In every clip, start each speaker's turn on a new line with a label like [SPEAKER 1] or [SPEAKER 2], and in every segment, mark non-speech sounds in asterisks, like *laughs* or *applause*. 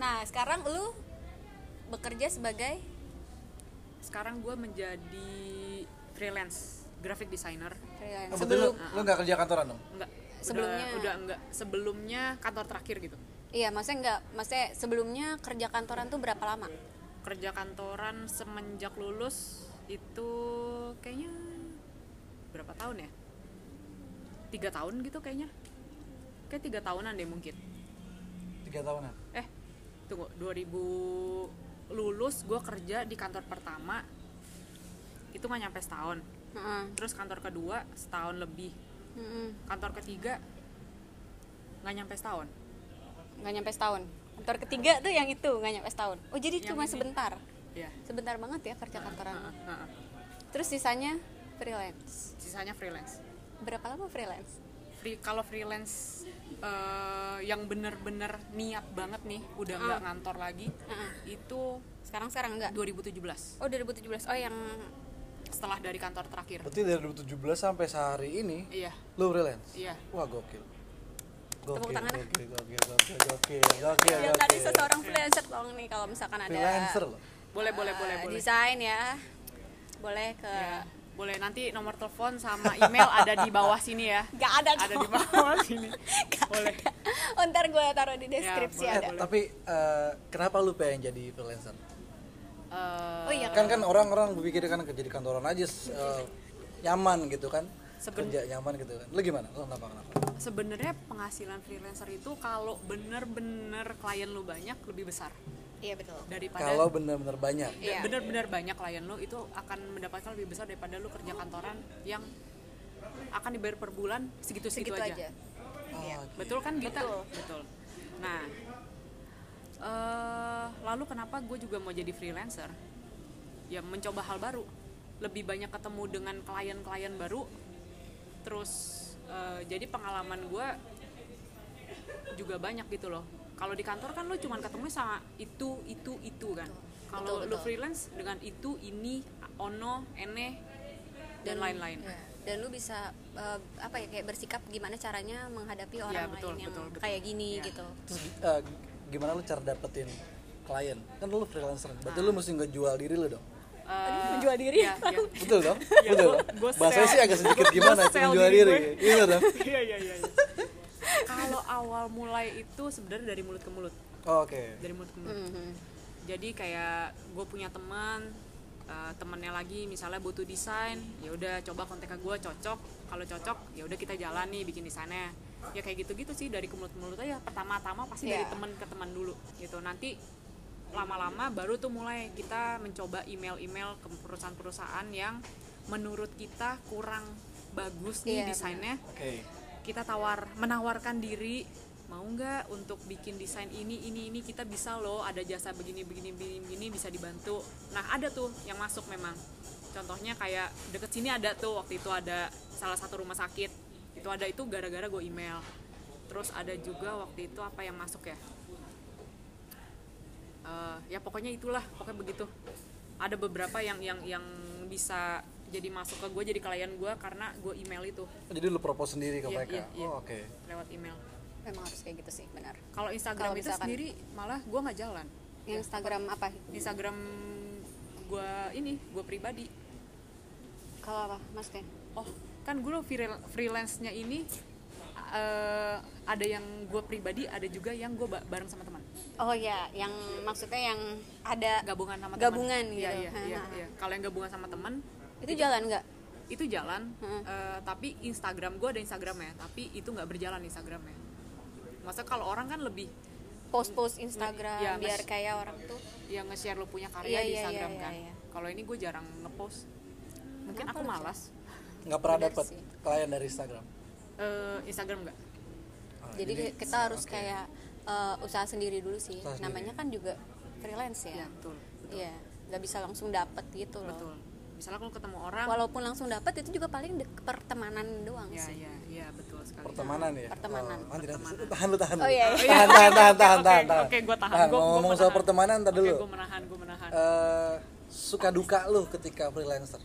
[SPEAKER 1] Nah, sekarang lu bekerja sebagai
[SPEAKER 2] Sekarang gue menjadi freelance graphic designer.
[SPEAKER 1] freelance.
[SPEAKER 3] Oh, betul lu,
[SPEAKER 1] Sebelum
[SPEAKER 3] lu gak kerja kantoran dong?
[SPEAKER 2] Enggak.
[SPEAKER 1] Sebelumnya.
[SPEAKER 2] udah, udah enggak. Sebelumnya kantor terakhir gitu.
[SPEAKER 1] iya, maksudnya enggak, maksudnya sebelumnya kerja kantoran tuh berapa lama?
[SPEAKER 2] Kerja kantoran semenjak lulus itu kayaknya berapa tahun ya? Tiga tahun gitu kayaknya. Kayak tiga tahunan deh mungkin.
[SPEAKER 3] Tiga tahunan
[SPEAKER 2] eh tunggu 2000 lulus gue kerja di kantor pertama itu nggak nyampe setahun
[SPEAKER 1] Heeh.
[SPEAKER 2] terus kantor kedua setahun lebih
[SPEAKER 1] Heeh.
[SPEAKER 2] kantor ketiga nggak nyampe setahun
[SPEAKER 1] Nggak nyampe setahun. Kantor ketiga tuh yang itu nggak nyampe setahun. Oh, jadi
[SPEAKER 2] Yang
[SPEAKER 1] cuma
[SPEAKER 2] ini.
[SPEAKER 1] sebentar.
[SPEAKER 2] ya
[SPEAKER 1] Sebentar banget ya kerja kantoran.
[SPEAKER 2] Heeh, heeh.
[SPEAKER 1] Terus sisanya freelance.
[SPEAKER 2] sisanya freelance
[SPEAKER 1] Berapa lama freelance?
[SPEAKER 2] free kalau freelance eh, yang bener-bener niat banget nih udah nggak ngantor lagi
[SPEAKER 1] Heeh.
[SPEAKER 2] itu
[SPEAKER 1] Sekarang sekarang enggak.
[SPEAKER 2] 2017
[SPEAKER 1] Oh, 2017. Oh, yang
[SPEAKER 2] setelah dari kantor terakhir
[SPEAKER 3] Berarti dari 2017 sampai sehari ini
[SPEAKER 2] iya
[SPEAKER 3] Lu freelance?
[SPEAKER 2] iya
[SPEAKER 3] Wah gokil
[SPEAKER 1] Tepuk
[SPEAKER 3] Gokil,
[SPEAKER 1] tangan, ah.
[SPEAKER 3] gokil, gokil, gokil, gokil, gokil,
[SPEAKER 2] Iya,
[SPEAKER 1] yang tadi
[SPEAKER 3] gokil.
[SPEAKER 1] seseorang freelancer dong nih kalau misalkan ada
[SPEAKER 3] Freelancer loh
[SPEAKER 2] boleh boleh
[SPEAKER 1] eh,
[SPEAKER 2] boleh boleh
[SPEAKER 1] desain ya. Boleh ke
[SPEAKER 2] Ya, boleh nanti nomor telepon sama email ada di bawah sini ya
[SPEAKER 1] Gak ada
[SPEAKER 2] ada
[SPEAKER 1] dong.
[SPEAKER 2] di *laughs* bawah sini
[SPEAKER 1] Gak
[SPEAKER 2] boleh
[SPEAKER 1] *laughs* Oh, ntar gue taruh di deskripsi ya. Iya,
[SPEAKER 2] boleh,
[SPEAKER 3] Eh,
[SPEAKER 1] ada.
[SPEAKER 2] boleh.
[SPEAKER 3] tapi eh, kenapa lu pengen jadi freelancer?
[SPEAKER 2] Eh,
[SPEAKER 1] Oh iya.
[SPEAKER 3] Kan kan orang-orang berpikir kan kerja di kantoran aja eh, nyaman gitu kan
[SPEAKER 2] Seben-
[SPEAKER 3] Kerja nyaman gitu kan Lu gimana? Lu kenapa? kenapa?
[SPEAKER 2] sebenarnya penghasilan freelancer itu kalau bener-bener klien lu banyak lebih besar
[SPEAKER 1] Iya betul.
[SPEAKER 2] daripada
[SPEAKER 3] Kalau bener-bener banyak
[SPEAKER 1] Iya.
[SPEAKER 2] bener-bener banyak klien lu itu akan mendapatkan lebih besar daripada lu kerja kantoran yang akan dibayar per bulan segitu-segitu
[SPEAKER 1] Segitu aja. Iya.
[SPEAKER 3] Oh,
[SPEAKER 2] Betul kan Gita?
[SPEAKER 1] Betul.
[SPEAKER 2] Nah, eh, lalu kenapa gue juga mau jadi freelancer? Ya mencoba hal baru, lebih banyak ketemu dengan klien-klien baru. Terus eh, jadi pengalaman gue juga banyak gitu loh. Kalau di kantor kan lu cuman ketemu sama itu, itu, itu kan. Kalau
[SPEAKER 1] Betul,
[SPEAKER 2] lu
[SPEAKER 1] betul.
[SPEAKER 2] freelance dengan itu, ini, ono, ene, dan lain-lain.
[SPEAKER 1] Iya. Dan lu bisa eh, apa ya kayak bersikap gimana caranya menghadapi orang
[SPEAKER 2] Iya, betul,
[SPEAKER 1] lain yang
[SPEAKER 2] betul, betul.
[SPEAKER 1] kayak gini
[SPEAKER 2] Iya.
[SPEAKER 1] gitu.
[SPEAKER 3] Terus eh, gimana lu cara dapetin klien? Kan lu freelancer, berarti
[SPEAKER 1] Ah.
[SPEAKER 3] lu mesti ngejual diri lu dong.
[SPEAKER 2] Eh,
[SPEAKER 1] menjual diri.
[SPEAKER 2] iya, iya.
[SPEAKER 3] Betul
[SPEAKER 2] *laughs*
[SPEAKER 3] dong? Betul dong?
[SPEAKER 2] gua
[SPEAKER 3] Bahasanya
[SPEAKER 2] sell.
[SPEAKER 3] sih agak sedikit
[SPEAKER 2] Gua
[SPEAKER 3] gimana sih
[SPEAKER 2] sell
[SPEAKER 3] ngejual
[SPEAKER 2] diri
[SPEAKER 3] diri.
[SPEAKER 2] gue.
[SPEAKER 3] Iya
[SPEAKER 2] *laughs*
[SPEAKER 3] dong?
[SPEAKER 2] iya iya iya iya. kalau awal mulai itu sebenarnya dari mulut ke mulut
[SPEAKER 3] Oh, Oke.
[SPEAKER 2] dari mulut ke mulut
[SPEAKER 1] Hmm. Mm-hmm.
[SPEAKER 2] jadi kayak gue punya teman eh, temennya lagi misalnya butuh desain ya udah coba kontak ke gue cocok kalau cocok ya udah kita jalan nih bikin desainnya ya kayak gitu gitu sih dari ke mulut ke mulut aja pertama-tama pasti dari
[SPEAKER 1] Iya.
[SPEAKER 2] teman ke teman dulu gitu nanti lama-lama baru tuh mulai kita mencoba email-email ke perusahaan-perusahaan yang menurut kita kurang bagus
[SPEAKER 1] Iya,
[SPEAKER 2] nih desainnya
[SPEAKER 3] Oke.
[SPEAKER 2] kita tawar menawarkan diri mau nggak untuk bikin desain ini ini ini kita bisa loh ada jasa begini begini begini begini bisa dibantu nah ada tuh yang masuk memang contohnya kayak deket sini ada tuh waktu itu ada salah satu rumah sakit itu ada itu gara-gara gue email terus ada juga waktu itu apa yang masuk ya Eh, ya pokoknya itulah pokoknya begitu ada beberapa yang yang yang bisa jadi masuk ke gue jadi klien gue karena gue email itu
[SPEAKER 3] Jadi lu propose sendiri ke
[SPEAKER 2] Iya,
[SPEAKER 3] mereka.
[SPEAKER 2] iya, iya.
[SPEAKER 3] Oh, oke.
[SPEAKER 2] lewat email
[SPEAKER 1] Memang harus kayak gitu sih, benar.
[SPEAKER 2] kalau Instagram
[SPEAKER 1] Kalau
[SPEAKER 2] itu
[SPEAKER 1] misalkan-
[SPEAKER 2] sendiri malah gue nggak jalan
[SPEAKER 1] Yang Instagram apa?
[SPEAKER 2] Instagram gue ini gue pribadi
[SPEAKER 1] Kalau apa? Mas kayak
[SPEAKER 2] oh kan gue freelance nya ini eh, ada yang gue pribadi ada juga yang gue bareng sama teman
[SPEAKER 1] Oh ya, yang maksudnya yang ada
[SPEAKER 2] gabungan sama teman
[SPEAKER 1] Gabungan
[SPEAKER 2] iya
[SPEAKER 1] gitu.
[SPEAKER 2] iya iya,
[SPEAKER 1] Ha, ha,
[SPEAKER 2] iya. kalau yang gabungan sama teman
[SPEAKER 1] itu jalan nggak?
[SPEAKER 2] itu jalan
[SPEAKER 1] Hmm.
[SPEAKER 2] eh, tapi Instagram gue ada Instagramnya tapi itu nggak berjalan Instagramnya masa kalau orang kan lebih
[SPEAKER 1] Post-post Instagram
[SPEAKER 2] Iya,
[SPEAKER 1] biar
[SPEAKER 2] Mas.
[SPEAKER 1] kayak orang tuh
[SPEAKER 2] yang nge-share lo punya
[SPEAKER 1] Iya,
[SPEAKER 2] karya di
[SPEAKER 1] iya, iya,
[SPEAKER 2] Instagram
[SPEAKER 1] iya,
[SPEAKER 2] kan
[SPEAKER 1] iya.
[SPEAKER 2] kalau ini gue jarang ngepost mungkin
[SPEAKER 1] Kenapa
[SPEAKER 2] aku
[SPEAKER 1] lu, Cak?
[SPEAKER 2] malas
[SPEAKER 3] Nggak pernah
[SPEAKER 1] Benar
[SPEAKER 3] dapet
[SPEAKER 1] sih.
[SPEAKER 3] klien dari Instagram.
[SPEAKER 2] Eh, Instagram enggak?
[SPEAKER 3] Oh,
[SPEAKER 1] jadi kita harus
[SPEAKER 3] oke.
[SPEAKER 1] kayak eh, usaha sendiri dulu sih
[SPEAKER 3] Usaha sendiri.
[SPEAKER 1] namanya kan juga freelance
[SPEAKER 2] Iya,
[SPEAKER 1] ya
[SPEAKER 2] betul.
[SPEAKER 1] iya nggak bisa langsung dapet gitu loh
[SPEAKER 2] Betul. Misalnya kalau ketemu orang,
[SPEAKER 1] walaupun langsung dapet itu juga paling dek- pertemanan doang
[SPEAKER 2] ya
[SPEAKER 1] sih
[SPEAKER 2] ya ya betul sekali.
[SPEAKER 3] pertemanan ya.
[SPEAKER 1] Pertemanan.
[SPEAKER 3] Oh, nanti, nanti. tahan lu tahan. lu.
[SPEAKER 1] Oh, iya, iya.
[SPEAKER 3] Tahan tahan tahan tahan
[SPEAKER 2] Oke,
[SPEAKER 3] tahan.
[SPEAKER 2] oke, gua tahan.
[SPEAKER 3] Tahan,
[SPEAKER 2] Gua-
[SPEAKER 3] mau
[SPEAKER 2] gua
[SPEAKER 3] ngomong soal
[SPEAKER 2] menahan.
[SPEAKER 3] pertemanan tadi
[SPEAKER 2] Oke,
[SPEAKER 3] dulu.
[SPEAKER 2] gue menahan, gue menahan.
[SPEAKER 3] Eh, suka duka lu ketika freelancer.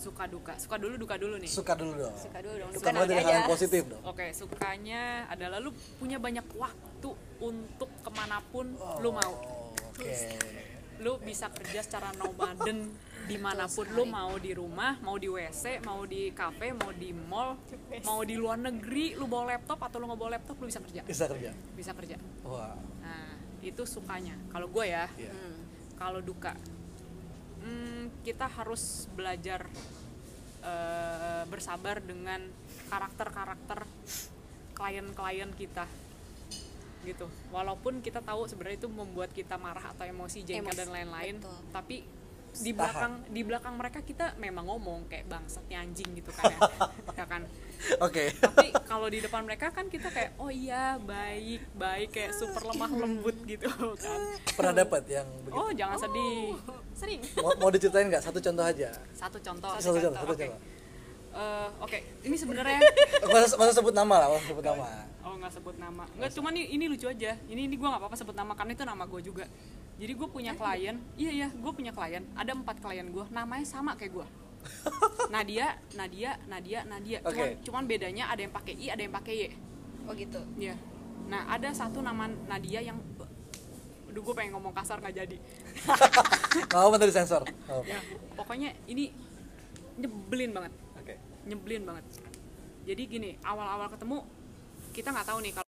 [SPEAKER 2] suka duka, suka dulu duka dulu nih.
[SPEAKER 3] Suka dulu dong.
[SPEAKER 1] suka dulu dong
[SPEAKER 3] Suka
[SPEAKER 1] bukan
[SPEAKER 3] banget
[SPEAKER 1] nanti
[SPEAKER 3] dari hal
[SPEAKER 1] aja
[SPEAKER 3] yang positif dong.
[SPEAKER 2] Oke,
[SPEAKER 3] Oh.
[SPEAKER 2] sukanya adalah lu punya banyak waktu untuk kemanapun lu mau.
[SPEAKER 3] Oke.
[SPEAKER 2] lu bisa kerja secara
[SPEAKER 3] *laughs*
[SPEAKER 2] nomaden dimanapun lu mau di rumah mau di wc mau di kafe mau di mall mau di luar negeri lu bawa laptop atau lu nggak bawa laptop lu bisa kerja
[SPEAKER 3] Bisa kerja.
[SPEAKER 2] bisa kerja
[SPEAKER 3] Wah.
[SPEAKER 2] nah itu sukanya kalau gue ya
[SPEAKER 3] Iya.
[SPEAKER 2] kalau duka hmm, kita harus belajar eh, bersabar dengan karakter-karakter klien-klien kita gitu walaupun kita tahu sebenarnya itu membuat kita marah atau emosi jengkel
[SPEAKER 1] Emosi,
[SPEAKER 2] dan lain-lain
[SPEAKER 1] betul.
[SPEAKER 2] tapi di belakang di belakang mereka kita memang ngomong kayak bangsatnya anjing gitu kan ya, ya kan
[SPEAKER 3] Oke. *laughs*
[SPEAKER 2] tapi kalau di depan mereka kan kita kayak oh iya baik baik kayak super lemah lembut gitu kan
[SPEAKER 3] Pernah dapat yang begitu.
[SPEAKER 2] oh jangan sedih
[SPEAKER 1] sering
[SPEAKER 3] Mau, mau diceritain nggak? Satu contoh aja.
[SPEAKER 2] Oh, satu contoh
[SPEAKER 3] Satu contoh. Satu
[SPEAKER 2] oke
[SPEAKER 3] contoh.
[SPEAKER 2] Eh, oke ini
[SPEAKER 3] *laughs*
[SPEAKER 2] sebenarnya
[SPEAKER 3] Masa, masa sebut nama lah. Masa sebut nama.
[SPEAKER 2] oh nggak sebut nama nggak cuman ini, ini lucu aja ini ini gue nggak apa-apa sebut nama karena itu nama gue juga jadi gue punya klien iya iya gue punya klien ada empat klien gue namanya sama kayak
[SPEAKER 3] *laughs*
[SPEAKER 2] gue Nadia Nadia Nadia Nadia cuman,
[SPEAKER 3] Oke.
[SPEAKER 2] cuman bedanya ada yang pakai i ada yang pakai y
[SPEAKER 1] oh gitu
[SPEAKER 2] Iya. Nah, ada satu nama Nadia yang Aduh, gue pengen ngomong kasar nggak jadi.
[SPEAKER 3] Nggak apa-apa tadi sensor. Nggak apa-apa.
[SPEAKER 2] Ya, pokoknya ini nyebelin banget,
[SPEAKER 3] Oke.
[SPEAKER 2] nyebelin banget. Jadi gini, awal-awal ketemu kita nggak tahu nih kalau